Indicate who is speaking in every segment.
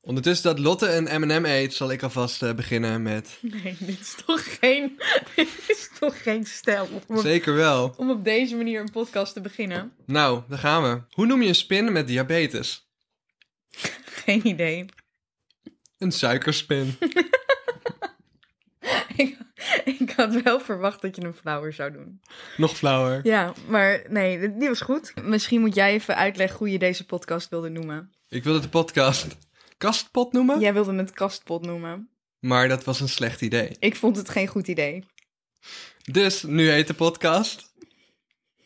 Speaker 1: Ondertussen dat Lotte een M&M eet, zal ik alvast eh, beginnen met...
Speaker 2: Nee, dit is toch geen, dit is toch geen stijl om, op-
Speaker 1: Zeker wel.
Speaker 2: om op deze manier een podcast te beginnen.
Speaker 1: Nou, daar gaan we. Hoe noem je een spin met diabetes?
Speaker 2: Geen idee.
Speaker 1: Een suikerspin.
Speaker 2: Ik, ik had wel verwacht dat je een flower zou doen.
Speaker 1: Nog flauwer.
Speaker 2: Ja, maar nee, die was goed. Misschien moet jij even uitleggen hoe je deze podcast wilde noemen.
Speaker 1: Ik wilde de podcast kastpot noemen,
Speaker 2: Jij wilde het kastpot noemen.
Speaker 1: maar dat was een slecht idee.
Speaker 2: Ik vond het geen goed idee.
Speaker 1: Dus nu heet de podcast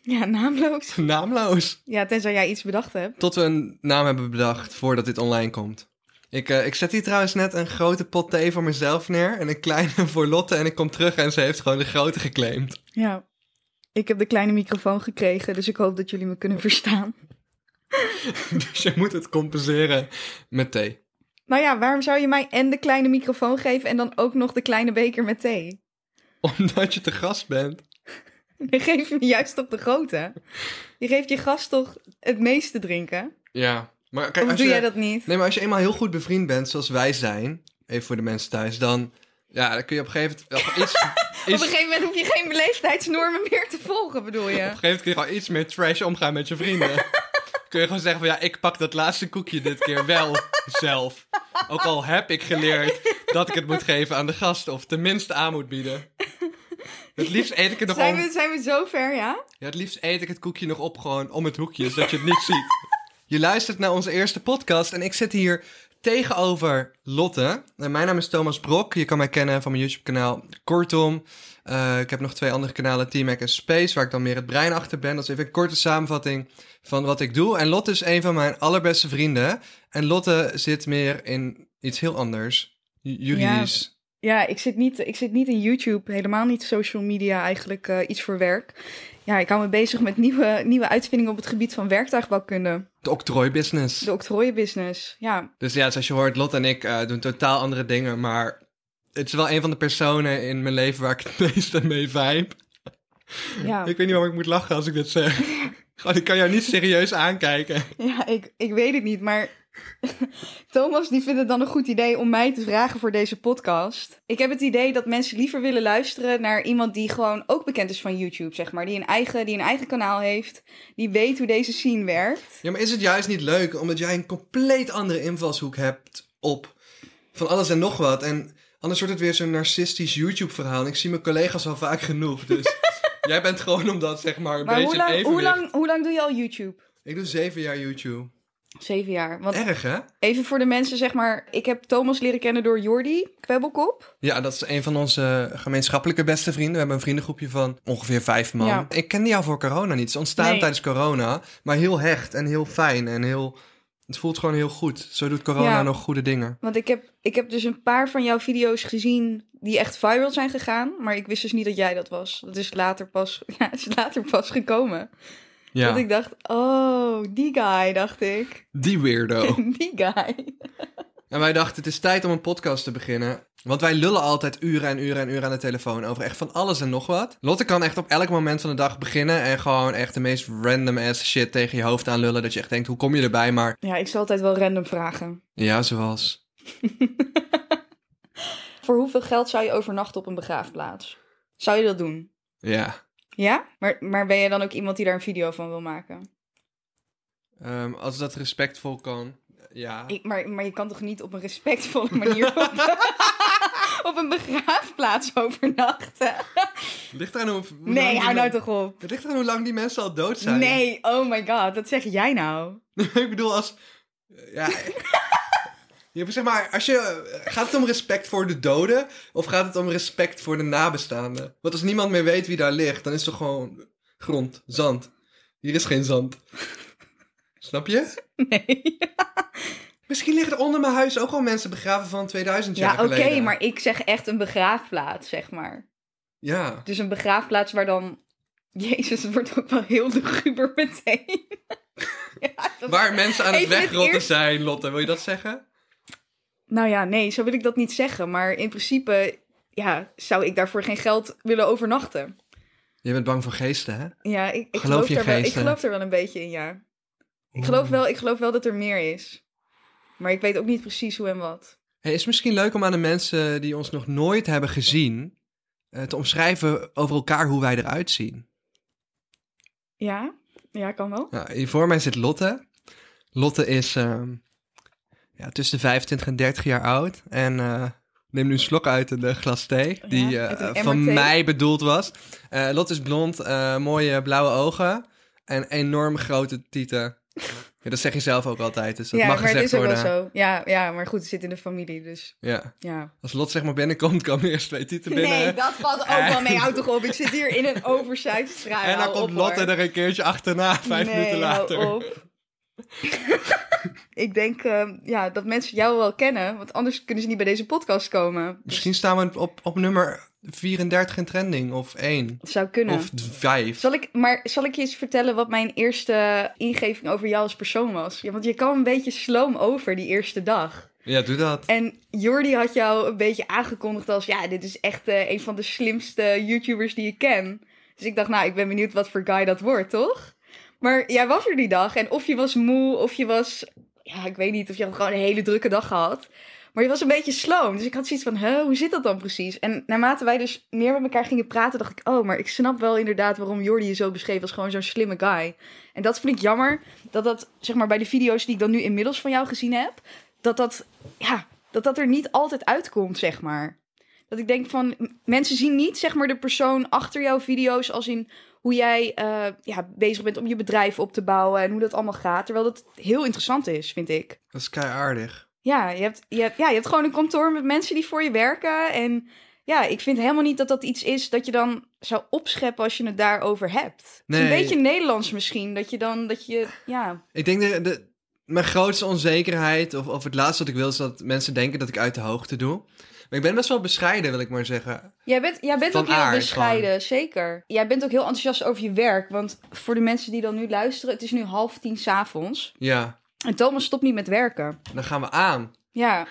Speaker 2: Ja, naamloos.
Speaker 1: naamloos.
Speaker 2: Ja, tenzij jij iets bedacht hebt.
Speaker 1: Tot we een naam hebben bedacht voordat dit online komt. Ik, eh, ik zet hier trouwens net een grote pot thee voor mezelf neer en een kleine voor Lotte. En ik kom terug en ze heeft gewoon de grote geclaimd.
Speaker 2: Ja. Ik heb de kleine microfoon gekregen, dus ik hoop dat jullie me kunnen verstaan.
Speaker 1: Dus je moet het compenseren met thee.
Speaker 2: Nou ja, waarom zou je mij en de kleine microfoon geven en dan ook nog de kleine beker met thee?
Speaker 1: Omdat je te gast bent.
Speaker 2: Dan geef je me juist op de grote. Je geeft je gast toch het meeste drinken?
Speaker 1: Ja. Maar kijk,
Speaker 2: of
Speaker 1: als
Speaker 2: doe
Speaker 1: je,
Speaker 2: jij dat niet?
Speaker 1: Nee, maar als je eenmaal heel goed bevriend bent, zoals wij zijn, even voor de mensen thuis, dan, ja, dan kun je op een gegeven moment wel iets,
Speaker 2: Op een
Speaker 1: iets, op
Speaker 2: gegeven moment hoef je geen leeftijdsnormen meer te volgen, bedoel je?
Speaker 1: een gegeven moment kun je gewoon iets meer trash omgaan met je vrienden. kun je gewoon zeggen van, ja, ik pak dat laatste koekje dit keer wel zelf. Ook al heb ik geleerd dat ik het moet geven aan de gast, of tenminste aan moet bieden. Het liefst eet ik het nog
Speaker 2: Zijn
Speaker 1: om-
Speaker 2: we, zijn we zo ver, ja?
Speaker 1: Ja, het liefst eet ik het koekje nog op gewoon om het hoekje, zodat je het niet ziet. Je luistert naar onze eerste podcast en ik zit hier tegenover Lotte. En mijn naam is Thomas Brok. Je kan mij kennen van mijn YouTube-kanaal Kortom. Eh, ik heb nog twee andere kanalen, T-Mac en Space, waar ik dan meer het brein achter ben. Dat is even een korte samenvatting van wat ik doe. En Lotte is een van mijn allerbeste vrienden. En Lotte zit meer in iets heel anders. Ju- Juridisch.
Speaker 2: Ja, ik zit, niet, ik zit niet in YouTube, helemaal niet social media, eigenlijk eh, iets voor werk. Ja, ik hou me bezig met nieuwe, nieuwe uitvindingen op het gebied van werktuigbouwkunde.
Speaker 1: De octrooibusiness.
Speaker 2: De octrooienbusiness, ja.
Speaker 1: Dus ja, zoals je hoort, Lot en ik eh, doen totaal andere dingen. Maar het is wel een van de personen in mijn leven waar ik het meeste mee vibe.
Speaker 2: Ja,
Speaker 1: Ik weet niet waarom ik moet lachen als ik dit zeg. Gewoon, ik kan jou niet serieus aankijken.
Speaker 2: ja ik, ik weet het niet, maar Thomas die vindt het dan een goed idee om mij te vragen voor deze podcast. Ik heb het idee dat mensen liever willen luisteren naar iemand die gewoon ook bekend is van YouTube, zeg maar. Die een eigen, die een eigen kanaal heeft, die weet hoe deze scene werkt.
Speaker 1: Ja, maar is het juist niet leuk omdat jij een compleet andere invalshoek hebt op van alles en nog wat? En anders wordt het weer zo'n narcistisch YouTube-verhaal. En Ik zie mijn collega's al vaak genoeg, dus jij bent gewoon om dat zeg maar een
Speaker 2: Maar hoe
Speaker 1: beetje
Speaker 2: lang,
Speaker 1: even.
Speaker 2: hoe, lang, hoe lang doe je al YouTube?
Speaker 1: Ik doe zeven jaar YouTube.
Speaker 2: Zeven jaar. Want
Speaker 1: Erg, hè?
Speaker 2: even voor de mensen, zeg maar, ik heb Thomas leren kennen door Jordi, Kwebbelkop.
Speaker 1: Ja, dat is een van onze gemeenschappelijke beste vrienden. We hebben een vriendengroepje van ongeveer vijf man.
Speaker 2: Ja.
Speaker 1: Ik kende jou voor corona niet. Het is ontstaan
Speaker 2: Nee.
Speaker 1: tijdens corona, maar heel hecht en heel fijn en heel... Het voelt gewoon heel goed. Zo doet corona
Speaker 2: Ja.
Speaker 1: nog goede dingen.
Speaker 2: Want ik heb, ik heb dus een paar van jouw video's gezien die echt viral zijn gegaan. Maar ik wist dus niet dat jij dat was. Dat is later pas, ja, is later pas gekomen.
Speaker 1: Ja,
Speaker 2: Dat ik dacht, oh, die guy, dacht ik.
Speaker 1: die weirdo.
Speaker 2: die guy.
Speaker 1: en wij dachten, het is tijd om een podcast te beginnen. Want wij lullen altijd uren en uren en uren aan de telefoon over echt van alles en nog wat. Lotte kan echt op elk moment van de dag beginnen en gewoon echt de meest random ass shit tegen je hoofd aan lullen. Dat je echt denkt, hoe kom je erbij? Maar
Speaker 2: Ja, ik zal altijd wel random vragen.
Speaker 1: ja, zoals...
Speaker 2: Voor hoeveel geld zou je overnachten op een begraafplaats? Zou je dat doen?
Speaker 1: Ja.
Speaker 2: Ja? Maar, maar ben je dan ook iemand die daar een video van wil maken?
Speaker 1: Ehm, als dat respectvol kan, ja.
Speaker 2: Ik, maar, maar je kan toch niet op een respectvolle manier op, op een begraafplaats overnachten?
Speaker 1: Ligt eraan hoe, hoe lang
Speaker 2: Nee,
Speaker 1: die
Speaker 2: hou nou
Speaker 1: men-
Speaker 2: toch op.
Speaker 1: Het ligt eraan hoe lang die mensen al dood zijn.
Speaker 2: Nee, oh my god, wat zeg jij nou?
Speaker 1: ik bedoel, als... Ja... Je hebt, zeg maar, als je, eh, gaat het om respect voor de doden of gaat het om respect voor de nabestaanden? Want als niemand meer weet wie daar ligt, dan is het toch gewoon grond, zand. Hier is geen zand. Snap je?
Speaker 2: Nee.
Speaker 1: Misschien liggen er onder mijn huis ook al mensen begraven van 2000
Speaker 2: Ja,
Speaker 1: jaar
Speaker 2: oké,
Speaker 1: geleden.
Speaker 2: maar ik zeg echt een begraafplaats, zeg maar.
Speaker 1: Ja,
Speaker 2: Dus een begraafplaats waar dan... Jezus, het wordt ook wel heel de guber meteen. ja, dat
Speaker 1: Waar mensen aan het
Speaker 2: Even het
Speaker 1: wegrotten
Speaker 2: eerst-
Speaker 1: zijn, Lotte. Wil je dat zeggen?
Speaker 2: Nou ja, nee, zo wil ik dat niet zeggen. Maar in principe ja, zou ik daarvoor geen geld willen overnachten.
Speaker 1: Je bent bang voor geesten, hè?
Speaker 2: Ja, ik, ik,
Speaker 1: Geloof
Speaker 2: geloof,
Speaker 1: je eh?
Speaker 2: daar wel, ik
Speaker 1: geesten?
Speaker 2: geloof er wel een beetje in, ja. Ik geloof, wel, ik geloof wel dat er meer is. Maar ik weet ook niet precies hoe en wat.
Speaker 1: Hey, is het misschien leuk om aan de mensen die ons nog nooit hebben gezien... eh, te omschrijven over elkaar hoe wij eruit zien?
Speaker 2: Ja? Ja, kan wel.
Speaker 1: Nou, hier voor mij zit Lotte. Lotte is ehm, ja, tussen de 25 en 30 jaar oud. En eh, neem nu een slok uit een eh, glas thee.
Speaker 2: Ja,
Speaker 1: die
Speaker 2: uit
Speaker 1: eh,
Speaker 2: een emmer
Speaker 1: van
Speaker 2: thee.
Speaker 1: mij bedoeld was. Eh, Lotte is blond, eh, mooie blauwe ogen. En enorm grote tieten. ja, dat zeg je zelf ook altijd, dus dat
Speaker 2: ja,
Speaker 1: mag
Speaker 2: maar het
Speaker 1: gezegd
Speaker 2: is ook
Speaker 1: worden.
Speaker 2: wel zo. Ja, ja, maar goed, het zit in de familie, dus
Speaker 1: Ja.
Speaker 2: ja.
Speaker 1: Als Lotte zeg maar binnenkomt, komen eerst twee tieten binnen.
Speaker 2: Nee, dat valt ook wel mee, houd toch op. Ik zit hier in een oversized straat.
Speaker 1: en dan komt Lotte er een keertje achterna, vijf
Speaker 2: nee,
Speaker 1: minuten later.
Speaker 2: hou op. ik denk ehm, ja, dat mensen jou wel kennen, want anders kunnen ze niet bij deze podcast komen. Dus
Speaker 1: Misschien staan we op, op nummer 34 in trending, of 1.
Speaker 2: Dat zou kunnen.
Speaker 1: Of d- vijf.
Speaker 2: Zal ik, maar zal ik je eens vertellen wat mijn eerste ingeving over jou als persoon was? Ja, want je kwam een beetje sloom over die eerste dag.
Speaker 1: Ja, doe dat.
Speaker 2: En Jordi had jou een beetje aangekondigd als... ja, dit is echt eh, een van de slimste YouTubers die ik ken. Dus ik dacht, nou, ik ben benieuwd wat voor guy dat wordt, toch? Maar jij was er die dag en of je was moe of je was... ja, ik weet niet, of je had gewoon een hele drukke dag gehad... Maar je was een beetje sloom. Dus ik had zoiets van, huh, hoe zit dat dan precies? En naarmate wij dus meer met elkaar gingen praten, dacht ik... oh, maar ik snap wel inderdaad waarom Jordi je zo beschreef als gewoon zo'n slimme guy. En dat vind ik jammer, dat dat, zeg maar, bij de video's die ik dan nu inmiddels van jou gezien heb... dat dat, ja, dat dat er niet altijd uitkomt, zeg maar. Dat ik denk van, m- mensen zien niet, zeg maar, de persoon achter jouw video's als in... Hoe jij eh, ja, bezig bent om je bedrijf op te bouwen en hoe dat allemaal gaat. Terwijl dat heel interessant is, vind ik.
Speaker 1: Dat is kei aardig.
Speaker 2: Ja, je hebt, je hebt, ja, je hebt gewoon een kantoor met mensen die voor je werken. En ja, ik vind helemaal niet dat dat iets is dat je dan zou opscheppen als je het daarover hebt. Het is
Speaker 1: Nee.
Speaker 2: een beetje Nederlands misschien, dat je dan, dat je, ja.
Speaker 1: Ik denk de, de, mijn grootste onzekerheid, of, of het laatste wat ik wil, is dat mensen denken dat ik uit de hoogte doe. Maar ik ben best wel bescheiden, wil ik maar zeggen.
Speaker 2: Jij bent, jij bent
Speaker 1: Van
Speaker 2: ook heel
Speaker 1: aard
Speaker 2: bescheiden, zeker. Jij bent ook heel enthousiast over je werk. Want voor de mensen die dan nu luisteren, het is nu half tien s'avonds.
Speaker 1: Ja,
Speaker 2: En Thomas stopt niet met werken.
Speaker 1: dan gaan we aan.
Speaker 2: Ja.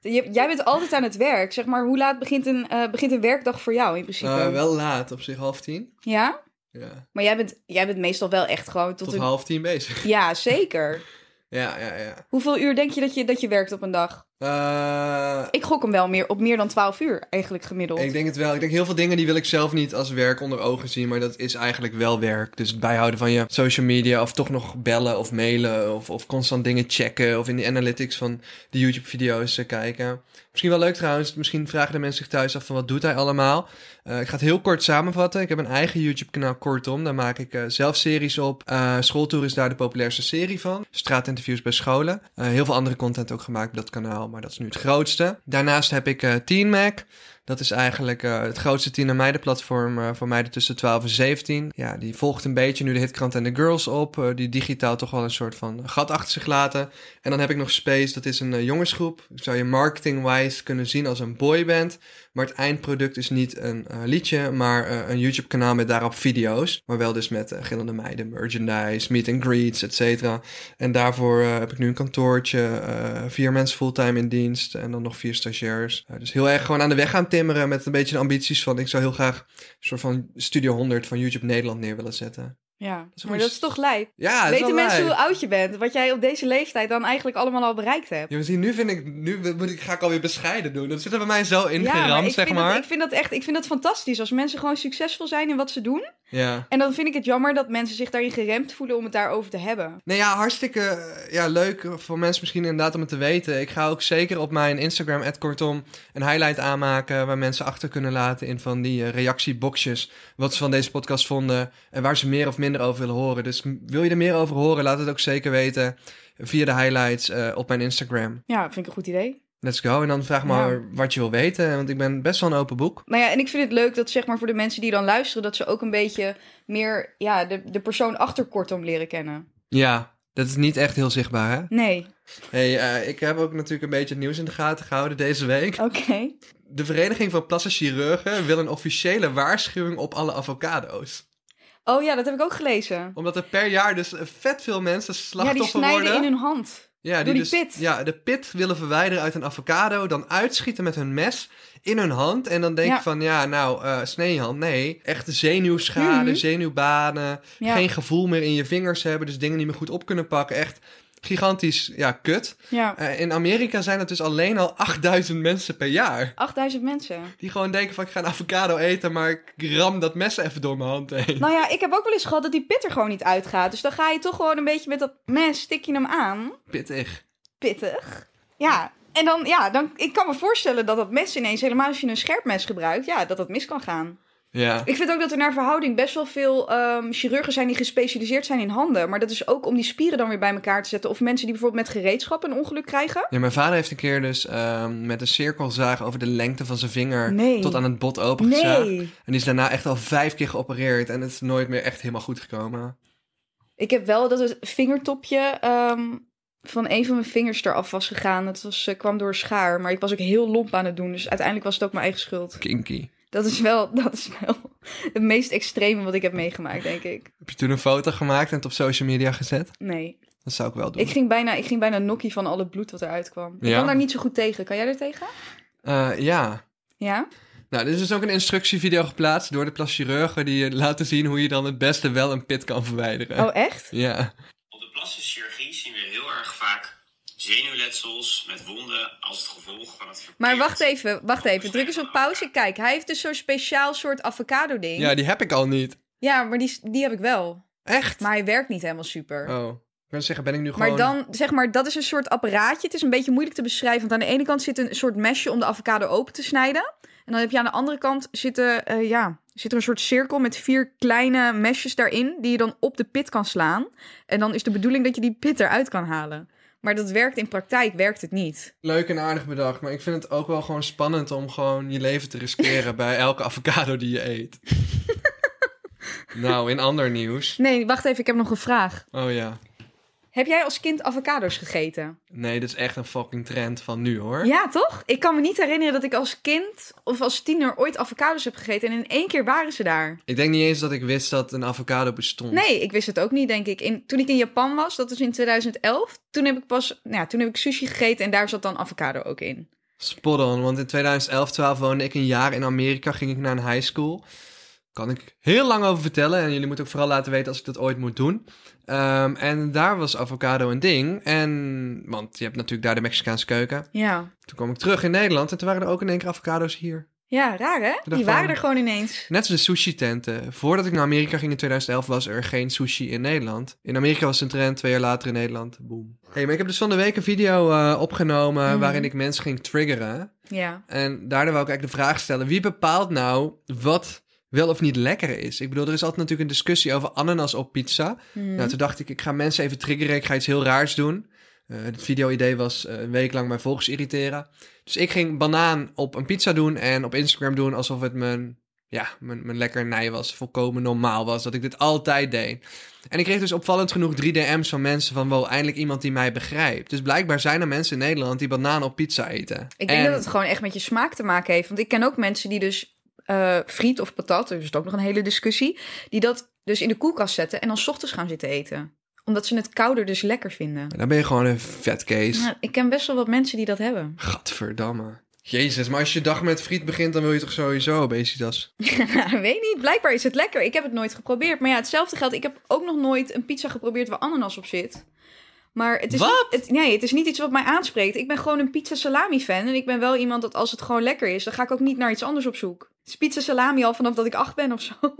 Speaker 2: Je- jij bent altijd aan het werk. Zeg maar, hoe laat begint een, eh, begint een werkdag voor jou in principe?
Speaker 1: Eh, wel laat, op zich half tien.
Speaker 2: Ja?
Speaker 1: Ja,
Speaker 2: Maar jij bent, jij bent meestal wel echt gewoon tot,
Speaker 1: tot
Speaker 2: een
Speaker 1: half tien bezig.
Speaker 2: Ja, zeker.
Speaker 1: Ja, ja, ja.
Speaker 2: Hoeveel uur denk je dat je, dat je werkt op een dag?
Speaker 1: Eh,
Speaker 2: Ik gok hem wel meer op meer dan 12 uur eigenlijk gemiddeld.
Speaker 1: ik denk het wel. Ik denk heel veel dingen die wil ik zelf niet als werk onder ogen zien, maar dat is eigenlijk wel werk. Dus het bijhouden van je social media of toch nog bellen of mailen of, of constant dingen checken of in de analytics van de YouTube-video's eh, kijken. Misschien wel leuk trouwens, misschien vragen de mensen zich thuis af van wat doet hij allemaal. Eh, ik ga het heel kort samenvatten. Ik heb een eigen YouTube-kanaal Kortom, daar maak ik eh, zelf series op. Eh Schooltour is daar de populairste serie van. Straatinterviews bij scholen. Eh, heel veel andere content ook gemaakt op dat kanaal, maar dat is nu het grootste. Daarnaast heb ik eh Teen Mac. Dat is eigenlijk eh, het grootste Tina Meiden platform eh, voor meiden tussen 12 en 17. Ja, die volgt een beetje nu de hitkrant en de girls op. eh, die digitaal toch wel een soort van gat achter zich laten. En dan heb ik nog Space, dat is een eh, jongensgroep. Zou je marketing-wise kunnen zien als een boyband. Maar het eindproduct is niet een eh, liedje, maar eh, een YouTube kanaal met daarop video's. Maar wel dus met eh, gillende meiden, merchandise, meet and greets, et cetera. En daarvoor eh, heb ik nu een kantoortje, eh, vier mensen fulltime in dienst en dan nog vier stagiairs. Eh, dus heel erg gewoon aan de weg gaan timmeren met een beetje de ambities van ik zou heel graag een soort van Studio 100 van YouTube Nederland neer willen zetten.
Speaker 2: Ja,
Speaker 1: is
Speaker 2: maar
Speaker 1: gewoon
Speaker 2: dat is toch lijp.
Speaker 1: Ja, dat is
Speaker 2: Weten
Speaker 1: wel
Speaker 2: mensen hoe
Speaker 1: leuk.
Speaker 2: oud je bent? Wat jij op deze leeftijd dan eigenlijk allemaal al bereikt hebt?
Speaker 1: Ja, maar zie, nu vind ik, nu moet ik, ga ik alweer bescheiden doen. Dat zit er bij mij zo
Speaker 2: Ja,
Speaker 1: ingeramd,
Speaker 2: maar ik,
Speaker 1: zeg
Speaker 2: vind
Speaker 1: maar.
Speaker 2: Dat, ik vind dat echt ik vind dat fantastisch. Als mensen gewoon succesvol zijn in wat ze doen.
Speaker 1: Ja.
Speaker 2: En dan vind ik het jammer dat mensen zich daarin geremd voelen om het daarover te hebben.
Speaker 1: Nee, ja, hartstikke eh, ja, leuk voor mensen misschien inderdaad om het te weten. Ik ga ook zeker op mijn Instagram, kortom, een highlight aanmaken... waar mensen achter kunnen laten in van die eh, reactieboxjes... wat ze van deze podcast vonden en waar ze meer of minder over willen horen. Dus m- wil je er meer over horen, laat het ook zeker weten via de highlights eh, op mijn Instagram.
Speaker 2: Ja, vind ik een goed idee.
Speaker 1: Let's go. En dan vraag maar wat je wil weten, want ik ben best wel een open boek.
Speaker 2: Nou ja, en ik vind het leuk dat zeg maar voor de mensen die dan luisteren, dat ze ook een beetje meer ja, de, de persoon achter kortom leren kennen.
Speaker 1: Ja, dat is niet echt heel zichtbaar, hè?
Speaker 2: Nee.
Speaker 1: hey, eh, ik heb ook natuurlijk een beetje het nieuws in de gaten gehouden deze week.
Speaker 2: Oké.
Speaker 1: De Vereniging van Plassenchirurgen wil een officiële waarschuwing op alle avocado's.
Speaker 2: Oh ja, dat heb ik ook gelezen.
Speaker 1: Omdat er per jaar dus eh, vet veel mensen
Speaker 2: Ja, die
Speaker 1: slachtoffer
Speaker 2: snijden
Speaker 1: worden.
Speaker 2: in hun hand.
Speaker 1: ja,
Speaker 2: door die
Speaker 1: dus,
Speaker 2: pit.
Speaker 1: Ja, de pit willen verwijderen uit een avocado. Dan uitschieten met hun mes in hun hand. En dan denk
Speaker 2: Ja.
Speaker 1: je van, ja, nou, eh snee je hand. Nee, echt zenuwschade,
Speaker 2: Mhm.
Speaker 1: zenuwbanen.
Speaker 2: Ja.
Speaker 1: Geen gevoel meer in je vingers hebben. Dus dingen niet meer goed op kunnen pakken. Echt gigantisch, ja, kut.
Speaker 2: Ja.
Speaker 1: Eh, in Amerika zijn het dus alleen al 8000 mensen per jaar.
Speaker 2: 8000 mensen.
Speaker 1: Die gewoon denken van, ik ga een avocado eten, maar ik ram dat mes even door mijn hand heen.
Speaker 2: Nou ja, ik heb ook wel eens gehad dat die pit er gewoon niet uitgaat. Dus dan ga je toch gewoon een beetje met dat mes, stik je hem aan.
Speaker 1: Pittig.
Speaker 2: Pittig. Ja. En dan, ja, dan, ik kan me voorstellen dat dat mes ineens, helemaal als je een scherp mes gebruikt, ja, dat dat mis kan gaan.
Speaker 1: Ja.
Speaker 2: Ik vind ook dat er naar verhouding best wel veel ehm, chirurgen zijn die gespecialiseerd zijn in handen. Maar dat is ook om die spieren dan weer bij elkaar te zetten. Of mensen die bijvoorbeeld met gereedschap een ongeluk krijgen.
Speaker 1: Ja, mijn vader heeft een keer dus ehm, met een cirkelzaag over de lengte van zijn vinger
Speaker 2: Nee.
Speaker 1: tot aan het bot opengezaagd.
Speaker 2: Nee.
Speaker 1: En die is daarna echt al vijf keer geopereerd en het is nooit meer echt helemaal goed gekomen.
Speaker 2: Ik heb wel dat het vingertopje ehm, van een van mijn vingers eraf was gegaan. Dat was, eh, kwam door een schaar. Maar ik was ook heel lomp aan het doen. Dus uiteindelijk was het ook mijn eigen schuld.
Speaker 1: Kinky.
Speaker 2: Dat is wel, dat is wel het meest extreme wat ik heb meegemaakt, denk ik.
Speaker 1: Heb je toen een foto gemaakt en het op social media gezet?
Speaker 2: Nee.
Speaker 1: Dat zou ik wel doen.
Speaker 2: Ik ging bijna, ik ging bijna nokkie van alle bloed wat eruit kwam. Ik
Speaker 1: Ja?
Speaker 2: kan daar niet zo goed tegen. Kan jij er tegen?
Speaker 1: Eh, ja.
Speaker 2: Ja?
Speaker 1: Nou, er is dus ook een instructievideo geplaatst door de plaschirurgen die eh, laten zien hoe je dan het beste wel een pit kan verwijderen.
Speaker 2: Oh, echt?
Speaker 1: Ja.
Speaker 3: Op de plastische chirurgie zien we heel erg vaak zenuwletsels met wonden als het gevolg van het verkeerd.
Speaker 2: Maar wacht even, wacht even. Druk eens op pauze. Kijk, hij heeft dus zo'n speciaal soort avocado ding.
Speaker 1: ja, die heb ik al niet.
Speaker 2: Ja, maar die, die heb ik wel.
Speaker 1: Echt?
Speaker 2: Maar hij werkt niet helemaal super.
Speaker 1: Oh. Ik kan zeggen, ben ik nu gewoon...
Speaker 2: Maar dan, zeg maar, dat is een soort apparaatje. Het is een beetje moeilijk te beschrijven. Want aan de ene kant zit een soort mesje om de avocado open te snijden. En dan heb je aan de andere kant zitten, eh, ja, zit er een soort cirkel met vier kleine mesjes daarin. Die je dan op de pit kan slaan. En dan is de bedoeling dat je die pit eruit kan halen. Maar dat werkt in praktijk, werkt het niet.
Speaker 1: Leuk en aardig bedacht, maar ik vind het ook wel gewoon spannend om gewoon je leven te riskeren bij elke avocado die je eet. nou, in ander nieuws.
Speaker 2: Nee, wacht even, ik heb nog een vraag.
Speaker 1: Oh ja.
Speaker 2: Heb jij als kind avocado's gegeten?
Speaker 1: Nee, dit is echt een fucking trend van nu hoor.
Speaker 2: Ja, toch? Ik kan me niet herinneren dat ik als kind of als tiener ooit avocados heb gegeten. En in één keer waren ze daar.
Speaker 1: Ik denk niet eens dat ik wist dat een avocado bestond.
Speaker 2: Nee, ik wist het ook niet, denk ik. In, toen ik in Japan was, dat was in 2011, toen heb ik pas, nou ja, toen heb ik sushi gegeten en daar zat dan avocado ook in.
Speaker 1: Spot on, want in 2011, 12 woonde ik een jaar in Amerika, ging ik naar een high school. Kan ik heel lang over vertellen en jullie moeten ook vooral laten weten als ik dat ooit moet doen. Ehm, en daar was avocado een ding. En, want je hebt natuurlijk daar de Mexicaanse keuken.
Speaker 2: Ja.
Speaker 1: Toen kwam ik terug in Nederland en toen waren er ook in één keer avocado's hier.
Speaker 2: Ja, raar hè? Die
Speaker 1: van-
Speaker 2: waren er gewoon ineens.
Speaker 1: Net als de sushi-tenten. Voordat ik naar Amerika ging in 2011 was er geen sushi in Nederland. In Amerika was het een trend, twee jaar later in Nederland. Boom. hey, maar ik heb dus van de week een video eh, opgenomen
Speaker 2: Mhm.
Speaker 1: waarin ik mensen ging triggeren.
Speaker 2: Ja.
Speaker 1: En daardoor wou ik eigenlijk de vraag stellen, wie bepaalt nou wat wel of niet lekker is? Ik bedoel, er is altijd natuurlijk een discussie over ananas op pizza.
Speaker 2: Mhm.
Speaker 1: Nou, toen dacht ik, ik ga mensen even triggeren. Ik ga iets heel raars doen. Eh, het video-idee was eh, een week lang mijn volgers irriteren. Dus ik ging banaan op een pizza doen en op Instagram doen alsof het mijn, ja, mijn, mijn lekkernij was. Volkomen normaal was dat ik dit altijd deed. En ik kreeg dus opvallend genoeg 3 DM's van mensen van wow, eindelijk iemand die mij begrijpt. Dus blijkbaar zijn er mensen in Nederland die banaan op pizza eten.
Speaker 2: Ik denk
Speaker 1: En-
Speaker 2: dat het gewoon echt met je smaak te maken heeft. Want ik ken ook mensen die dus eh, friet of patat, dus is ook nog een hele discussie, die dat dus in de koelkast zetten en dan 's ochtends gaan zitten eten. Omdat ze het kouder dus lekker vinden.
Speaker 1: Dan ben je gewoon een vetkees.
Speaker 2: Nou, ik ken best wel wat mensen die dat hebben.
Speaker 1: Gadverdamme. Jezus, maar als je dag met friet begint, dan wil je toch sowieso obesitas?
Speaker 2: Ja, weet niet. Blijkbaar is het lekker. Ik heb het nooit geprobeerd. Maar ja, hetzelfde geldt. Ik heb ook nog nooit een pizza geprobeerd waar ananas op zit. Maar het is,
Speaker 1: Wat?
Speaker 2: Niet, het, nee, het is niet iets wat mij aanspreekt. Ik ben gewoon een pizza salami fan. En ik ben wel iemand dat als het gewoon lekker is, dan ga ik ook niet naar iets anders op zoek. Het is pizza salami al vanaf dat ik acht ben of zo.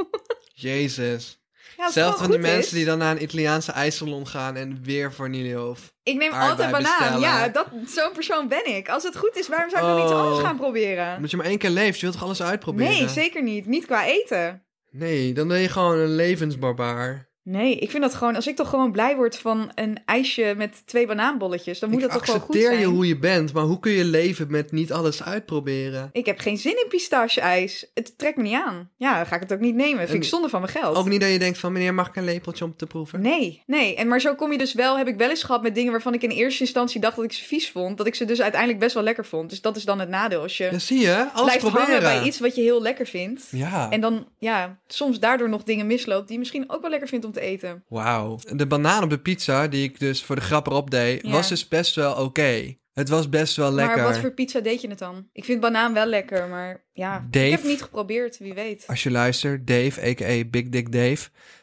Speaker 1: Jezus.
Speaker 2: Ja, het
Speaker 1: Zelfs
Speaker 2: gewoon
Speaker 1: van die
Speaker 2: goed
Speaker 1: mensen
Speaker 2: is.
Speaker 1: die dan naar een Italiaanse ijssalon gaan en weer vanille of...
Speaker 2: Ik neem
Speaker 1: aardbei
Speaker 2: altijd banaan.
Speaker 1: bestellen.
Speaker 2: Ja, dat, zo'n persoon ben ik. Als het goed is, waarom zou ik dan iets
Speaker 1: Oh.
Speaker 2: anders gaan proberen?
Speaker 1: Omdat je maar één keer leeft, je wilt toch alles uitproberen?
Speaker 2: Nee, zeker niet. Niet qua eten.
Speaker 1: Nee, dan ben je gewoon een levensbarbaar.
Speaker 2: Nee, ik vind dat gewoon, als ik toch gewoon blij word van een ijsje met twee banaanbolletjes, dan moet
Speaker 1: ik
Speaker 2: dat toch wel goed
Speaker 1: accepteer
Speaker 2: zijn.
Speaker 1: je hoe je bent, maar hoe kun je leven met niet alles uitproberen?
Speaker 2: Ik heb geen zin in pistache-ijs. Het trekt me niet aan. Ja, dan ga ik het ook niet nemen. Vind
Speaker 1: En-
Speaker 2: ik zonde van mijn geld.
Speaker 1: Ook niet dat je denkt van, meneer, mag ik een lepeltje om te proeven?
Speaker 2: Nee, nee. En maar zo kom je dus wel, heb ik wel eens gehad met dingen waarvan ik in eerste instantie dacht dat ik ze vies vond. Dat ik ze dus uiteindelijk best wel lekker vond. Dus dat is dan het nadeel. Als je
Speaker 1: Ja, zie je, alles
Speaker 2: blijft hangen
Speaker 1: proberen.
Speaker 2: bij iets wat je heel lekker vindt.
Speaker 1: Ja,
Speaker 2: En dan, ja, soms daardoor nog dingen misloopt die je misschien ook wel lekker vindt om te eten.
Speaker 1: wauw. De banaan op de pizza, die ik dus voor de grap erop deed,
Speaker 2: Ja.
Speaker 1: was dus best wel oké. Het was best wel lekker.
Speaker 2: Maar wat voor pizza deed je het dan? Ik vind banaan wel lekker, maar ja,
Speaker 1: Dave.
Speaker 2: ik heb het niet geprobeerd, wie weet.
Speaker 1: Als je luistert, Dave, a.k.a. Big Dick Dave,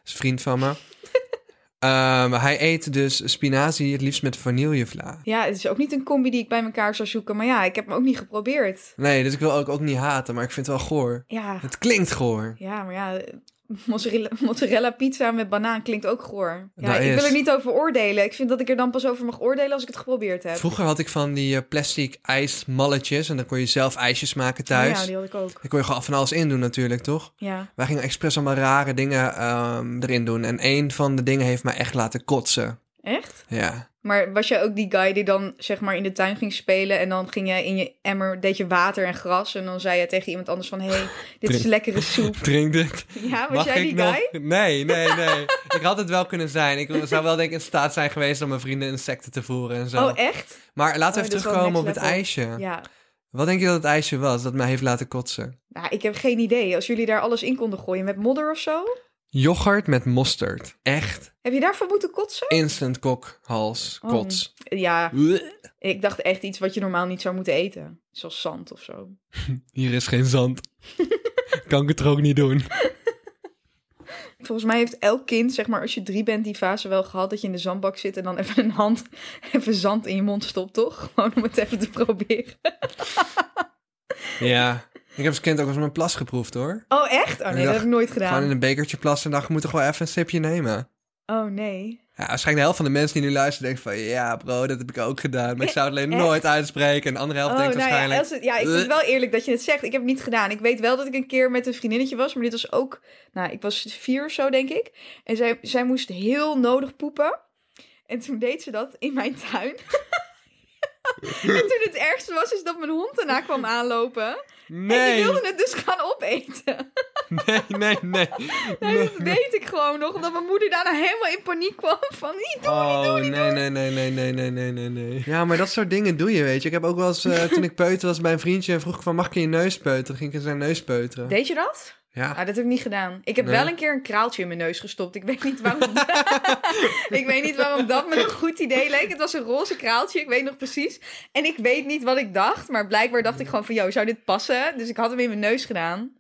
Speaker 1: is een vriend van me. Ehm, hij eet dus spinazie het liefst met vanillevla.
Speaker 2: Ja, het is ook niet een combi die ik bij elkaar zou zoeken, maar ja, ik heb hem ook niet geprobeerd.
Speaker 1: Nee, dus ik wil ook, ook niet haten, maar ik vind het wel goor.
Speaker 2: Ja,
Speaker 1: Het klinkt goor.
Speaker 2: ja maar ja, eh, mozzarella, mozzarella pizza met banaan klinkt ook goor. Ja,
Speaker 1: Nou,
Speaker 2: ik
Speaker 1: eerst-
Speaker 2: wil er niet over oordelen. Ik vind dat ik er dan pas over mag oordelen als ik het geprobeerd heb.
Speaker 1: Vroeger had ik van die eh, plastic ijsmalletjes en dan kon je zelf ijsjes maken thuis.
Speaker 2: Ja, die had ik ook.
Speaker 1: Daar kon je gewoon van alles in doen natuurlijk, toch?
Speaker 2: Ja.
Speaker 1: Wij gingen expres allemaal rare dingen ehm, erin doen. En één van de dingen heeft mij echt laten kotsen.
Speaker 2: Echt?
Speaker 1: Ja.
Speaker 2: Maar was jij ook die guy die dan zeg maar in de tuin ging spelen en dan ging jij in je emmer, deed je water en gras en dan zei je tegen iemand anders van, hé, hey, dit is lekkere soep.
Speaker 1: Drink dit.
Speaker 2: Ja, Oh, was jij die guy?
Speaker 1: Nee, nee, nee. ik had het wel kunnen zijn. Ik zou wel denk ik in staat zijn geweest om mijn vrienden insecten te voeren en zo.
Speaker 2: Oh, echt?
Speaker 1: maar laten
Speaker 2: Oh,
Speaker 1: we even
Speaker 2: dat is wel
Speaker 1: terugkomen op
Speaker 2: next
Speaker 1: het
Speaker 2: level.
Speaker 1: ijsje.
Speaker 2: Ja.
Speaker 1: Wat denk je dat het ijsje was dat mij heeft laten kotsen?
Speaker 2: Nou, ik heb geen idee. Als jullie daar alles in konden gooien met modder of zo?
Speaker 1: Yoghurt met mosterd. Echt
Speaker 2: Heb je daarvoor moeten kotsen?
Speaker 1: instant kokhals
Speaker 2: Oh.
Speaker 1: kots.
Speaker 2: Ja,
Speaker 1: Blech.
Speaker 2: ik dacht echt iets wat je normaal niet zou moeten eten. Zoals zand of zo.
Speaker 1: Hier is geen zand. kan ik het er ook niet doen.
Speaker 2: Volgens mij heeft elk kind, zeg maar, als je drie bent, die fase wel gehad. Dat je in de zandbak zit en dan even een hand, even zand in je mond stopt, toch? Gewoon om het even te proberen.
Speaker 1: Ja. Ik heb als kind ook eens mijn plas geproefd hoor.
Speaker 2: Oh, echt? Oh nee, dat heb ik nooit
Speaker 1: Gewoon in
Speaker 2: gedaan.
Speaker 1: een bekertje plassen en dacht, ik moet toch wel even een sipje nemen.
Speaker 2: Oh nee.
Speaker 1: Ja, waarschijnlijk de helft van de mensen die nu luisteren denkt van... Ja bro, dat heb ik ook gedaan. Maar ik zou het alleen
Speaker 2: Echt?
Speaker 1: nooit uitspreken. En de andere helft
Speaker 2: Oh,
Speaker 1: denkt
Speaker 2: nou ja,
Speaker 1: waarschijnlijk... eh.
Speaker 2: als het- ja, ik vind het wel eerlijk dat je het zegt. Ik heb het niet gedaan. Ik weet wel dat ik een keer met een vriendinnetje was, maar dit was ook, nou, ik was vier of zo, denk ik. En zij, zij moest heel nodig poepen. En toen deed ze dat in mijn tuin. en toen het ergste was, is dat mijn hond daarna kwam aanlopen. En die
Speaker 1: Nee,
Speaker 2: wilde het dus gaan opeten.
Speaker 1: nee, nee, nee.
Speaker 2: Nou, dat weet ik gewoon nog, omdat mijn moeder daarna helemaal in paniek kwam van, niet doen.
Speaker 1: Oh, nee, nee, nee, nee, nee, nee, nee, nee, nee. Ja, maar dat soort dingen doe je, weet je. Ik heb ook wel eens, eh, toen ik peuter was bij een vriendje... en vroeg ik van, mag ik in je neus peuteren? Ging ik in zijn neus peuteren.
Speaker 2: Deed je dat?
Speaker 1: Ja.
Speaker 2: Ah, dat heb ik niet gedaan. Ik heb
Speaker 1: Nee?
Speaker 2: wel een keer een kraaltje in mijn neus gestopt. Ik weet niet waarom. ik weet niet waarom dat me een goed idee leek. Het was een roze kraaltje, ik weet nog precies. En ik weet niet wat ik dacht, maar blijkbaar dacht ik gewoon van, yo, zou dit passen? Dus ik had hem in mijn neus gedaan.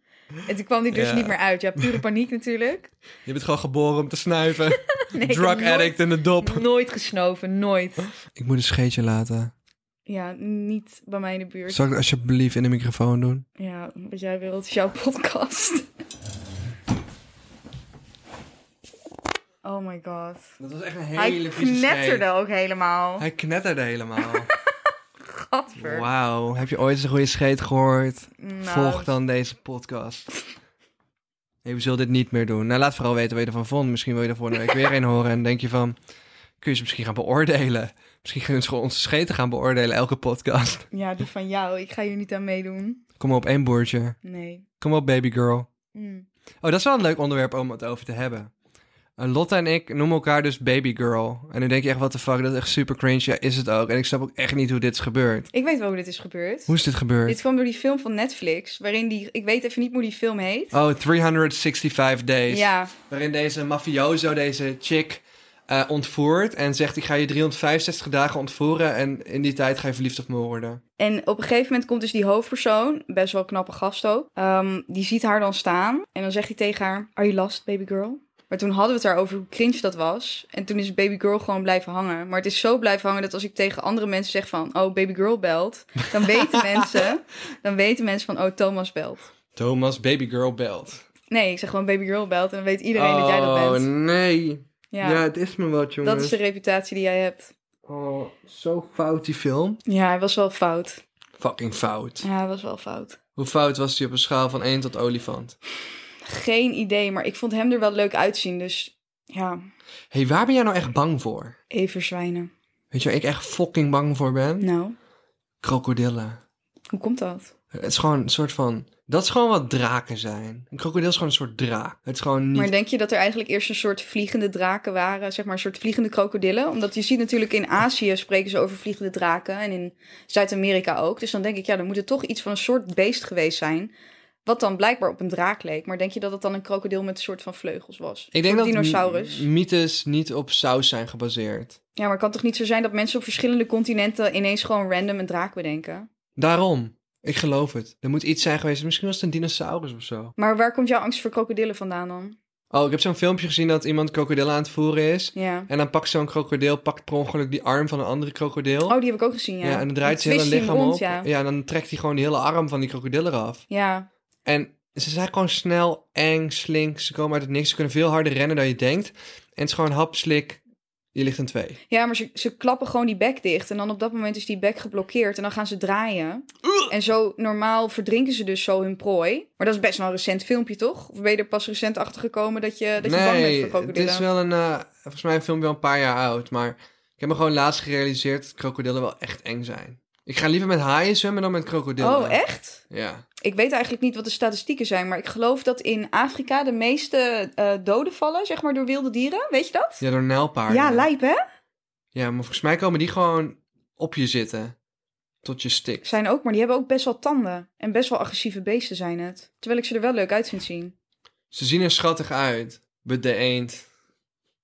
Speaker 2: En toen kwam die dus
Speaker 1: Ja.
Speaker 2: niet meer uit. Ja, pure paniek natuurlijk.
Speaker 1: Je bent gewoon geboren om te snuiven.
Speaker 2: Nee, ik heb
Speaker 1: Drug
Speaker 2: nooit-
Speaker 1: addict in de dop.
Speaker 2: Nooit gesnoven, nooit.
Speaker 1: Ik moet een scheetje laten.
Speaker 2: Ja, niet bij mij in de buurt.
Speaker 1: Zal ik het alsjeblieft in de microfoon doen?
Speaker 2: Ja, wat jij wilt, is jouw podcast. Oh my god.
Speaker 1: Dat was echt een
Speaker 2: Hij knetterde ook helemaal.
Speaker 1: Hij knetterde helemaal.
Speaker 2: Gadver.
Speaker 1: Wauw, heb je ooit eens een goede scheet gehoord?
Speaker 2: Nou,
Speaker 1: Volg dan deze podcast. Nee, we zullen dit niet meer doen. Nou, laat vooral weten wat je ervan vond. Misschien wil je er volgende week weer een horen. En denk je van, kun je ze misschien gaan beoordelen? Misschien kunnen ze gewoon onze scheten gaan beoordelen, elke podcast.
Speaker 2: Ja, die van jou. Ik ga hier niet aan meedoen.
Speaker 1: Kom op, één boertje.
Speaker 2: Nee.
Speaker 1: Kom op, baby girl.
Speaker 2: Mm.
Speaker 1: Oh, dat is wel een leuk onderwerp om het over te hebben. Eh, Lotte en ik noemen elkaar dus baby girl. En nu denk je echt, wat de fuck, dat is echt super cringe. Ja, is het ook. En ik snap ook echt niet hoe dit is gebeurd.
Speaker 2: Ik weet wel hoe dit is gebeurd.
Speaker 1: Hoe is dit gebeurd?
Speaker 2: Dit kwam door die film van Netflix, waarin die... Ik weet even niet hoe die film heet.
Speaker 1: Oh, 365 Days.
Speaker 2: ja,
Speaker 1: Waarin deze mafioso, deze chick, eh, ontvoert. En zegt, ik ga je 365 dagen ontvoeren. En in die tijd ga je verliefd op me worden.
Speaker 2: en op een gegeven moment komt dus die hoofdpersoon, best wel een knappe gast ook, ehm, die ziet haar dan staan en dan zegt hij tegen haar, are you lost, baby girl? Maar toen hadden we het daarover hoe cringe dat was. En toen is baby girl gewoon blijven hangen. Maar het is zo blijven hangen dat als ik tegen andere mensen zeg van, oh, baby girl belt, dan weten mensen, dan weten mensen van, oh, Thomas belt.
Speaker 1: Thomas, baby girl belt.
Speaker 2: Nee, ik zeg gewoon Baby Girl belt en dan weet iedereen dat jij dat bent.
Speaker 1: Oh, nee.
Speaker 2: Ja,
Speaker 1: het is me wat, jongens.
Speaker 2: dat is de reputatie die jij hebt.
Speaker 1: Oh, zo fout die film.
Speaker 2: Ja, hij was wel fout.
Speaker 1: Fucking fout.
Speaker 2: Ja, hij was wel fout.
Speaker 1: Hoe fout was die op een schaal van 1 tot olifant?
Speaker 2: Geen idee, maar ik vond hem er wel leuk uitzien. Dus Ja,
Speaker 1: hey, waar ben jij nou echt bang voor?
Speaker 2: everzwijnen.
Speaker 1: Weet je waar ik echt fucking bang voor ben?
Speaker 2: Nou,
Speaker 1: Krokodillen.
Speaker 2: hoe komt dat?
Speaker 1: Het is gewoon een soort van... Dat is gewoon wat draken zijn. Een krokodil is gewoon een soort draak. Het is gewoon niet...
Speaker 2: Maar denk je dat er eigenlijk eerst een soort vliegende draken waren? Zeg maar een soort vliegende krokodillen? Omdat je ziet natuurlijk in Azië spreken ze over vliegende draken. En in Zuid-Amerika ook. Dus dan denk ik, ja, dan moet het toch iets van een soort beest geweest zijn. Wat dan blijkbaar op een draak leek. Maar denk je dat het dan een krokodil met een soort van vleugels was?
Speaker 1: ik denk
Speaker 2: Een
Speaker 1: dat
Speaker 2: dinosaurus.
Speaker 1: m- mythes niet op saus zijn gebaseerd.
Speaker 2: Ja, maar het kan toch niet zo zijn dat mensen op verschillende continenten ineens gewoon random een draak bedenken?
Speaker 1: Daarom. Ik geloof het. Er moet iets zijn geweest. Misschien was het een dinosaurus of zo.
Speaker 2: Maar waar komt jouw angst voor krokodillen vandaan dan?
Speaker 1: Oh, ik heb zo'n filmpje gezien dat iemand krokodil aan het voeren is.
Speaker 2: Ja.
Speaker 1: En dan pakt zo'n krokodil, pakt per ongeluk die arm van een andere krokodil.
Speaker 2: Oh, die heb ik ook gezien, ja.
Speaker 1: ja. en dan draait
Speaker 2: Dan
Speaker 1: zijn hele
Speaker 2: twist hij
Speaker 1: lichaam
Speaker 2: hem rond,
Speaker 1: op.
Speaker 2: Ja.
Speaker 1: Ja. en dan trekt hij gewoon de hele arm van die krokodil eraf.
Speaker 2: ja.
Speaker 1: En ze zijn gewoon snel, eng, slink. Ze komen uit het niks. Ze kunnen veel harder rennen dan je denkt. En het is gewoon hap, slik. Je ligt in twee.
Speaker 2: Ja, maar ze, ze klappen gewoon die bek dicht. En dan op dat moment is die bek geblokkeerd. En dan gaan ze draaien. En zo normaal verdrinken ze dus zo hun prooi. Maar dat is best wel een recent filmpje, toch? Of ben je er pas recent achter gekomen dat je, dat je bang bent voor
Speaker 1: nee, het
Speaker 2: krokodillen?
Speaker 1: is wel een... eh, volgens mij een filmpje wel een paar jaar oud. Maar ik heb me gewoon laatst gerealiseerd dat krokodillen wel echt eng zijn. Ik ga liever met haaien zwemmen dan met krokodillen.
Speaker 2: Oh, echt?
Speaker 1: Ja.
Speaker 2: Ik weet eigenlijk niet wat de statistieken zijn. Maar ik geloof dat in Afrika de meeste eh, doden vallen, zeg maar, door wilde dieren. Weet je dat?
Speaker 1: Ja, door nijlpaarden.
Speaker 2: Ja, lijp hè?
Speaker 1: Ja, maar volgens mij komen die gewoon op je zitten. Tot je stikt.
Speaker 2: Zijn ook, maar die hebben ook best wel tanden. En best wel agressieve beesten zijn het. Terwijl ik ze er wel leuk uit vind zien.
Speaker 1: Ze zien er schattig uit. But de eend.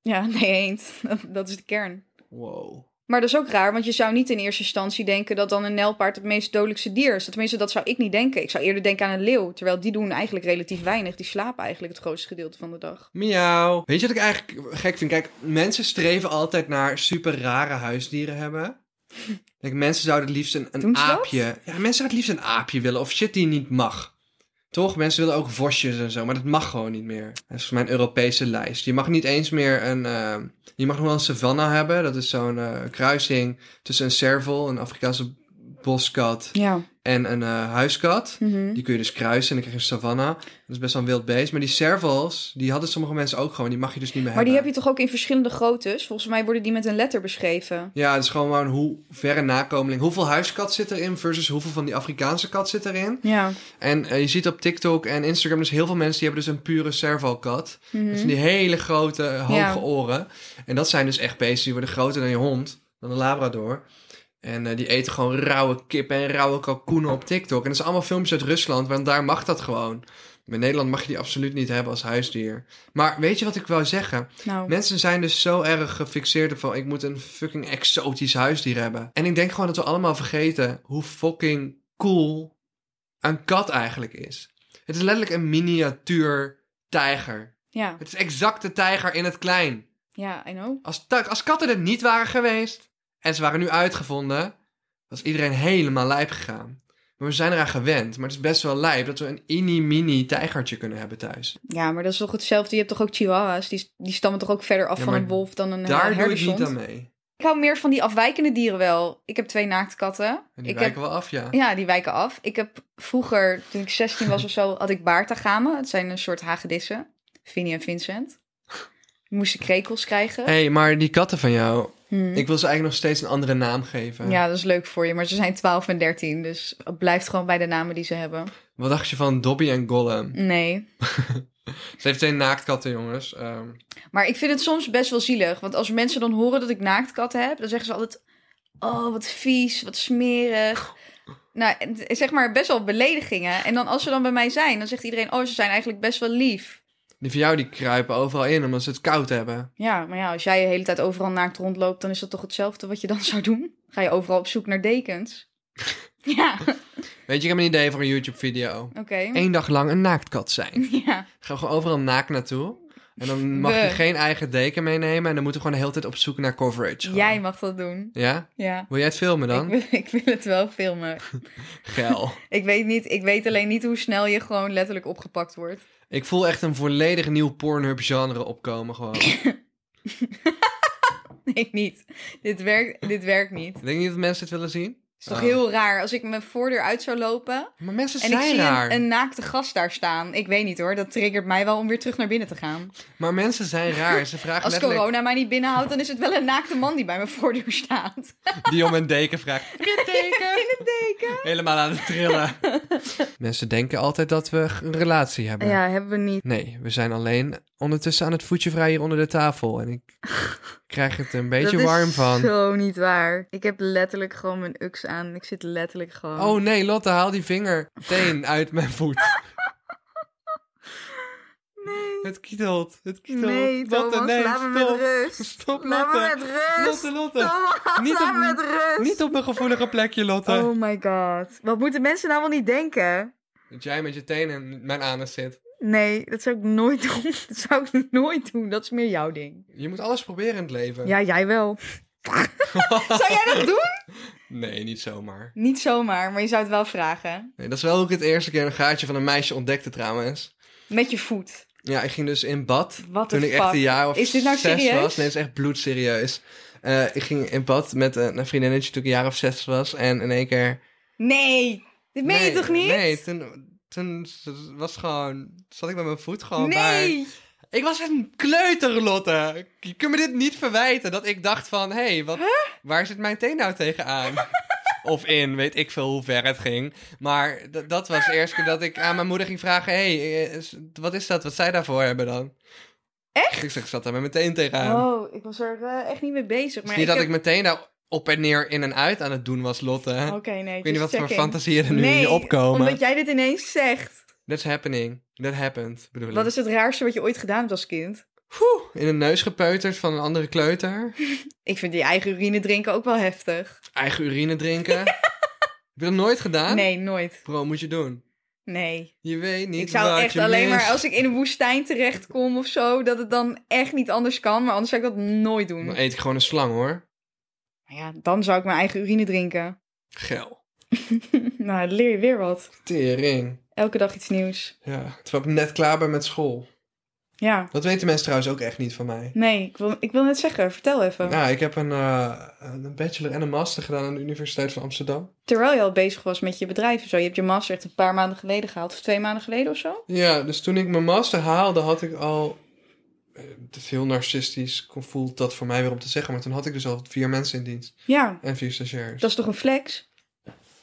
Speaker 2: Ja, nee, eend. Dat- dat is de kern.
Speaker 1: Wow.
Speaker 2: Maar dat is ook raar, want je zou niet in eerste instantie denken dat dan een nelpaard het meest dodelijkste dier is. Tenminste, dat zou ik niet denken. Ik zou eerder denken aan een leeuw, terwijl die doen eigenlijk relatief weinig. Die slapen eigenlijk het grootste gedeelte van de dag.
Speaker 1: Miauw. Weet je wat ik eigenlijk gek vind? Kijk, mensen streven altijd naar super rare huisdieren hebben. Kijk, mensen zouden het liefst een,
Speaker 2: Doen
Speaker 1: een
Speaker 2: ze dat?
Speaker 1: aapje... Ja, mensen zouden het liefst een aapje willen. Of shit die niet mag. Toch? Mensen willen ook vosjes en zo. Maar dat mag gewoon niet meer. Dat is volgens mij een Europese lijst. Je mag niet eens meer een... eh, je mag nog wel een savanna hebben. Dat is zo'n eh, kruising tussen een serval, een Afrikaanse boskat...
Speaker 2: Ja.
Speaker 1: en een eh, huiskat.
Speaker 2: Mhm.
Speaker 1: Die kun je dus kruisen en dan krijg je een savanna. Dat is best wel een wild beest. Maar die servals, die hadden sommige mensen ook gewoon. Die mag je dus niet meer
Speaker 2: Maar die heb
Speaker 1: hebben.
Speaker 2: je toch ook in verschillende groottes? Volgens mij worden die met een letter beschreven.
Speaker 1: Ja, het is gewoon maar een hoe verre nakomeling. Hoeveel huiskat zit erin versus hoeveel van die Afrikaanse kat zit erin?
Speaker 2: Ja.
Speaker 1: En eh, je ziet op TikTok en Instagram dus heel veel mensen die hebben dus een pure servalkat. Dat zijn die hele grote, hoge
Speaker 2: Ja.
Speaker 1: oren. En dat zijn dus echt beesten die worden groter dan je hond, dan een labrador. En eh, die eten gewoon rauwe kip en rauwe kalkoenen op TikTok. En dat zijn allemaal filmpjes uit Rusland, want daar mag dat gewoon. In Nederland mag je die absoluut niet hebben als huisdier. Maar weet je wat ik wou zeggen?
Speaker 2: Nou.
Speaker 1: Mensen zijn dus zo erg gefixeerd op van... ik moet een fucking exotisch huisdier hebben. En ik denk gewoon dat we allemaal vergeten... hoe fucking cool een kat eigenlijk is. Het is letterlijk een miniatuur tijger.
Speaker 2: Ja.
Speaker 1: Het is exact de tijger in het klein.
Speaker 2: Ja, I know.
Speaker 1: Als, ta- als katten er niet waren geweest... en ze waren nu uitgevonden... was iedereen helemaal lijp gegaan. Maar we zijn eraan gewend. Maar het is best wel lijp dat we een ini-mini tijgertje kunnen hebben thuis.
Speaker 2: Ja, maar dat is toch hetzelfde. Je hebt toch ook chihuahuas? Die, die stammen toch ook verder af
Speaker 1: Ja,
Speaker 2: van
Speaker 1: maar
Speaker 2: een wolf dan een eh,
Speaker 1: Daar doe ik
Speaker 2: herdershond?
Speaker 1: niet aan mee.
Speaker 2: Ik hou meer van die afwijkende dieren wel. Ik heb twee naaktkatten.
Speaker 1: En die
Speaker 2: ik heb
Speaker 1: wijken wel af, ja.
Speaker 2: Ja, die wijken af. Ik heb vroeger, toen ik 16 was of zo, had ik baartagamen. Het zijn een soort hagedissen. Vinnie en Vincent. Ik moest krekels krijgen.
Speaker 1: Hé, hey, maar die katten van jou,
Speaker 2: Hmm.
Speaker 1: ik eh, wil ze eigenlijk nog steeds een andere naam geven.
Speaker 2: Ja, dat is leuk voor je. Maar ze zijn 12 en 13, dus het blijft gewoon bij de namen die ze hebben.
Speaker 1: Wat dacht je van Dobby en Gollum?
Speaker 2: Nee.
Speaker 1: Ze heeft twee naaktkatten, jongens. Ehm,
Speaker 2: Maar ik vind het soms best wel zielig. Want als mensen dan horen dat ik naaktkatten heb, dan zeggen ze altijd... Oh, wat vies, wat smerig. Nou, en zeg maar best wel beledigingen. En dan als ze dan bij mij zijn, dan zegt iedereen... Oh, ze zijn eigenlijk best wel lief.
Speaker 1: die van jou die kruipen overal in omdat ze het koud hebben.
Speaker 2: Ja, maar ja, als jij de hele tijd overal naakt rondloopt, dan is dat toch hetzelfde wat je dan zou doen? Ga je overal op zoek naar dekens? ja, oké.
Speaker 1: Weet je, ik heb een idee voor een YouTube-video.
Speaker 2: Hm?
Speaker 1: Eén dag lang een naaktkat zijn.
Speaker 2: Ja,
Speaker 1: Gaan we gewoon overal naakt naartoe. En dan mag je
Speaker 2: We.
Speaker 1: geen eigen deken meenemen. En dan moeten we gewoon de hele tijd op zoek naar coverage. gewoon.
Speaker 2: jij mag dat doen.
Speaker 1: Ja?
Speaker 2: Ja.
Speaker 1: Wil jij het filmen
Speaker 2: Ik
Speaker 1: dan?
Speaker 2: wil, ik wil het wel filmen.
Speaker 1: Geil.
Speaker 2: Ik weet, niet, ik weet alleen niet hoe snel je gewoon letterlijk opgepakt wordt.
Speaker 1: Ik voel echt een volledig nieuw Pornhub-genre opkomen gewoon.
Speaker 2: Nee, niet. Dit werkt, dit werkt niet.
Speaker 1: Denk je niet dat mensen het willen zien? Ehm,
Speaker 2: is toch heel raar als ik mijn voordeur uit zou lopen
Speaker 1: Maar mensen
Speaker 2: en ik
Speaker 1: zijn
Speaker 2: zie
Speaker 1: raar.
Speaker 2: een, een naakte gast daar staan. Ik weet niet hoor, dat triggert mij wel om weer terug naar binnen te gaan.
Speaker 1: Maar mensen zijn raar. Ze vragen
Speaker 2: Als
Speaker 1: letterlijk...
Speaker 2: corona mij niet binnenhoudt, dan is het wel een naakte man die bij mijn voordeur staat.
Speaker 1: Die om een deken vraagt. Heb je een deken?
Speaker 2: In het deken.
Speaker 1: Helemaal aan het trillen. mensen denken altijd dat we g- een relatie hebben.
Speaker 2: Ja, hebben we niet.
Speaker 1: Nee, we zijn alleen ondertussen aan het voetje vrij hier onder de tafel. En ik krijg het een beetje warm van.
Speaker 2: zo niet waar. Ik heb letterlijk gewoon mijn uks aan. Ik zit letterlijk gewoon...
Speaker 1: Oh nee, Lotte, haal die vinger meteen uit mijn voet.
Speaker 2: nee.
Speaker 1: Het kietelt, het kietelt.
Speaker 2: Nee,
Speaker 1: Lotte,
Speaker 2: Thomas,
Speaker 1: nee,
Speaker 2: laat me met
Speaker 1: stop.
Speaker 2: rust.
Speaker 1: Stop,
Speaker 2: Laat me
Speaker 1: Lotte.
Speaker 2: met rust.
Speaker 1: Lotte, Lotte.
Speaker 2: Thomas,
Speaker 1: Niet
Speaker 2: laat
Speaker 1: op-
Speaker 2: me met rust.
Speaker 1: Niet op mijn gevoelige plekje, Lotte.
Speaker 2: Oh my god. Wat moeten mensen nou wel niet denken?
Speaker 1: Dat jij met je tenen in mijn anus zit.
Speaker 2: Nee, dat zou ik nooit doen. Dat zou ik nooit doen. Dat is meer jouw ding.
Speaker 1: Je moet alles proberen in het leven.
Speaker 2: Ja, jij wel. zou jij dat doen?
Speaker 1: Nee, niet zomaar.
Speaker 2: Niet zomaar, maar je zou het wel vragen.
Speaker 1: Nee, dat is wel ook het eerste keer een gaatje van een meisje ontdekte trouwens.
Speaker 2: Met je voet.
Speaker 1: Ja, ik ging dus in bad.
Speaker 2: Wat
Speaker 1: toen
Speaker 2: de
Speaker 1: ik echt
Speaker 2: fuck?
Speaker 1: een jaar of
Speaker 2: Is dit nou
Speaker 1: zes
Speaker 2: serieus?
Speaker 1: was. Nee, het is echt bloedserieus. Eh, ik ging in bad met een, een vriendinnetje toen ik een jaar of zes was. En in één keer...
Speaker 2: Nee, dit meen je
Speaker 1: Nee,
Speaker 2: toch niet?
Speaker 1: Nee, toen, toen z- was gewoon, zat ik met mijn voet gewoon bij.
Speaker 2: Nee.
Speaker 1: Ik was een kleuter, Lotte. Je kunt me dit niet verwijten. Dat ik dacht van, hé, hey, wat, waar zit mijn teen nou tegenaan? of in, weet ik veel hoe ver het ging. Maar d- dat was de eerste keer dat ik aan mijn moeder ging vragen... hé, hey, eh, is- wat is dat? Wat zij daarvoor hebben dan? Echt? Ik zeg, ik zat daar met mijn teen tegenaan.
Speaker 2: Oh, ik was er eh, echt niet mee bezig.
Speaker 1: Ehm, het
Speaker 2: Maar
Speaker 1: is niet dat
Speaker 2: heb-
Speaker 1: ik meteen nou op en neer in en uit aan het doen was, Lotte.
Speaker 2: Oké, nee.
Speaker 1: ik weet niet wat
Speaker 2: just
Speaker 1: voor
Speaker 2: checking.
Speaker 1: fantasieën er nu in
Speaker 2: Oh, nee,
Speaker 1: je opkomen.
Speaker 2: omdat jij dit ineens zegt.
Speaker 1: That's happening. That happened, bedoel ik.
Speaker 2: Wat is het raarste wat je ooit gedaan hebt als kind?
Speaker 1: In een neus gepeuterd van een andere kleuter.
Speaker 2: Ik vind die eigen urine drinken ook wel heftig.
Speaker 1: Eigen urine drinken. Heb je dat nooit gedaan?
Speaker 2: Nee, nooit.
Speaker 1: Bro, moet je doen.
Speaker 2: Nee.
Speaker 1: Je weet niet
Speaker 2: ik zou
Speaker 1: wat
Speaker 2: echt
Speaker 1: je
Speaker 2: alleen
Speaker 1: mist.
Speaker 2: maar als ik in een woestijn terechtkom of zo, dat het dan echt niet anders kan. Maar anders zou ik dat nooit doen.
Speaker 1: Dan eet ik gewoon een slang, hoor.
Speaker 2: Maar ja, dan zou ik mijn eigen urine drinken.
Speaker 1: Gel.
Speaker 2: nou, dan leer je weer wat.
Speaker 1: Tering.
Speaker 2: Elke dag iets nieuws.
Speaker 1: Ja, terwijl ik net klaar ben met school.
Speaker 2: Ja.
Speaker 1: Dat weten mensen trouwens ook echt niet van mij.
Speaker 2: Nee, ik wil, ik wil net zeggen, vertel even.
Speaker 1: Nou, ik heb een, eh, een bachelor en een master gedaan aan de Universiteit van Amsterdam.
Speaker 2: Terwijl je al bezig was met je bedrijf en zo. Je hebt je master echt een paar maanden geleden gehaald. Of twee maanden geleden of zo.
Speaker 1: Ja, dus toen ik mijn master haalde, had ik al... eh, Het is heel narcistisch, voelt dat voor mij weer om te zeggen. Maar toen had ik dus al vier mensen in dienst.
Speaker 2: Ja,
Speaker 1: En vier stagiairs.
Speaker 2: dat is toch een flex?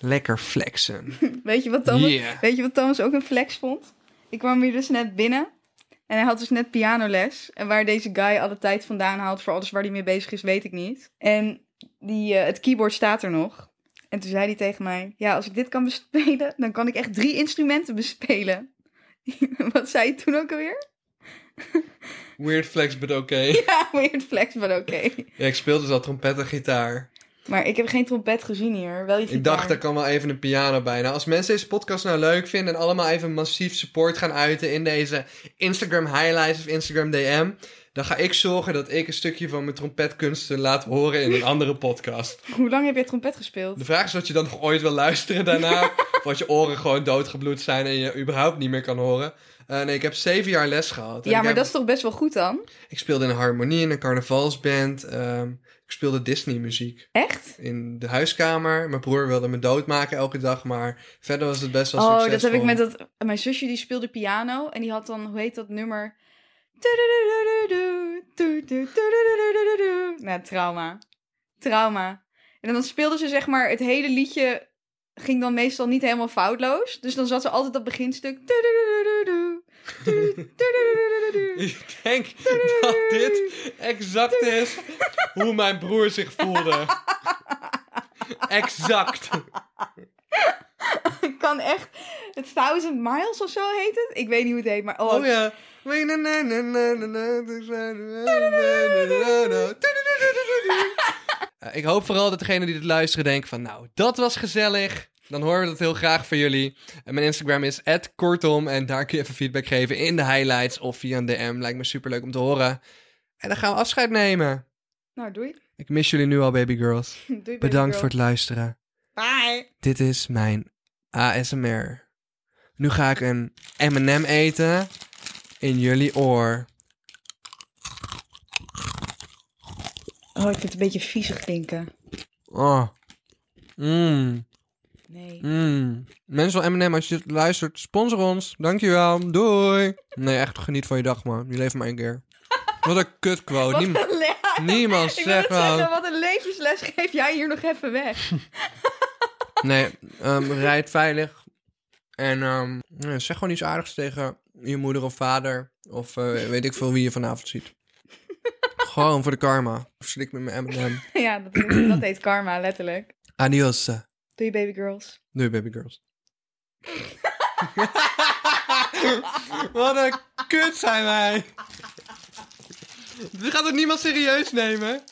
Speaker 1: Lekker flexen.
Speaker 2: Weet je wat Thomas,
Speaker 1: Yeah.
Speaker 2: weet je wat Thomas ook een flex vond? Ik kwam hier dus net binnen. En hij had dus net pianoles. En waar deze guy alle tijd vandaan haalt voor alles waar hij mee bezig is, weet ik niet. En die, eh, het keyboard staat er nog. En toen zei hij tegen mij: Ja, als ik dit kan bespelen, dan kan ik echt drie instrumenten bespelen. wat zei je toen ook alweer?
Speaker 1: Weird flex, but oké.
Speaker 2: Ja, weird flex, maar oké.
Speaker 1: Ja, ik speelde dus al trompet en gitaar.
Speaker 2: Maar ik heb geen trompet gezien hier. Wel je
Speaker 1: Ik
Speaker 2: gitaar.
Speaker 1: dacht, daar kan wel even een piano bij. Nou, als mensen deze podcast nou leuk vinden en allemaal even massief support gaan uiten in deze Instagram highlights of Instagram DM, dan ga ik zorgen dat ik een stukje van mijn trompetkunsten laat horen in een andere podcast.
Speaker 2: Hoe lang heb jij trompet gespeeld?
Speaker 1: De vraag is wat je dan nog ooit wil luisteren daarna. of als je oren gewoon doodgebloed zijn en je überhaupt niet meer kan horen. Eh, nee, ik heb zeven jaar les gehad. En
Speaker 2: Ja,
Speaker 1: ik
Speaker 2: maar
Speaker 1: heb-
Speaker 2: dat is toch best wel goed dan?
Speaker 1: Ik speelde in een harmonie, in een carnavalsband. ehm, ik speelde Disney-muziek.
Speaker 2: Echt?
Speaker 1: in de huiskamer. Mijn broer wilde me doodmaken elke dag, maar verder was het best wel
Speaker 2: oh,
Speaker 1: succesvol.
Speaker 2: dat heb ik met dat. Mijn zusje die speelde piano en die had dan, hoe heet dat nummer? Tudududududu, tududududududu. Nou, trauma. Trauma. En dan speelde ze zeg maar het hele liedje ging dan meestal niet helemaal foutloos. Dus dan zat ze altijd dat beginstuk. Tudududududu, tududududududu.
Speaker 1: Ik denk dat dit exact is hoe mijn broer zich voelde. Exact.
Speaker 2: Ik kan echt. Het Thousand Miles of zo heet het. Ik weet niet hoe het heet, maar oh,
Speaker 1: Oh ja. Eh, Ik hoop vooral dat degenen die dit luisteren denken van... Nou, dat was gezellig. Dan horen we dat heel graag van jullie. En mijn Instagram is kortom. En daar kun je even feedback geven in de highlights of via een DM. Lijkt me superleuk om te horen. En dan gaan we afscheid nemen.
Speaker 2: Nou, doei.
Speaker 1: Ik mis jullie nu al, baby girls.
Speaker 2: Doei, baby
Speaker 1: Bedankt
Speaker 2: girl.
Speaker 1: voor het luisteren.
Speaker 2: Bye.
Speaker 1: Dit is mijn ASMR. Nu ga ik een M&M eten in jullie oor.
Speaker 2: Oh, ik vind het een beetje viezig klinken.
Speaker 1: Oh. Mm,
Speaker 2: Nee.
Speaker 1: mm. Mensen van M&M, als je dit luistert, sponsor ons. Dankjewel. Doei. Nee, echt geniet van je dag, man. Je leeft maar één keer. Wat een kutquote.
Speaker 2: Wat
Speaker 1: Niem-
Speaker 2: een le-
Speaker 1: niemand
Speaker 2: Ik wil net
Speaker 1: zegt
Speaker 2: zeggen,
Speaker 1: wel.
Speaker 2: wat een levensles geef jij hier nog even weg.
Speaker 1: Nee, ehm, rijd veilig. En ehm, nee, zeg gewoon iets aardigs tegen je moeder of vader. Of eh, weet ik veel wie je vanavond ziet. gewoon voor de karma. Slik met mijn M&M.
Speaker 2: ja, dat, dat heet karma, letterlijk.
Speaker 1: Adios. eh.
Speaker 2: Doei baby girls.
Speaker 1: Doei, baby girls. Wat een kut zijn wij. Dit gaat het niemand serieus nemen.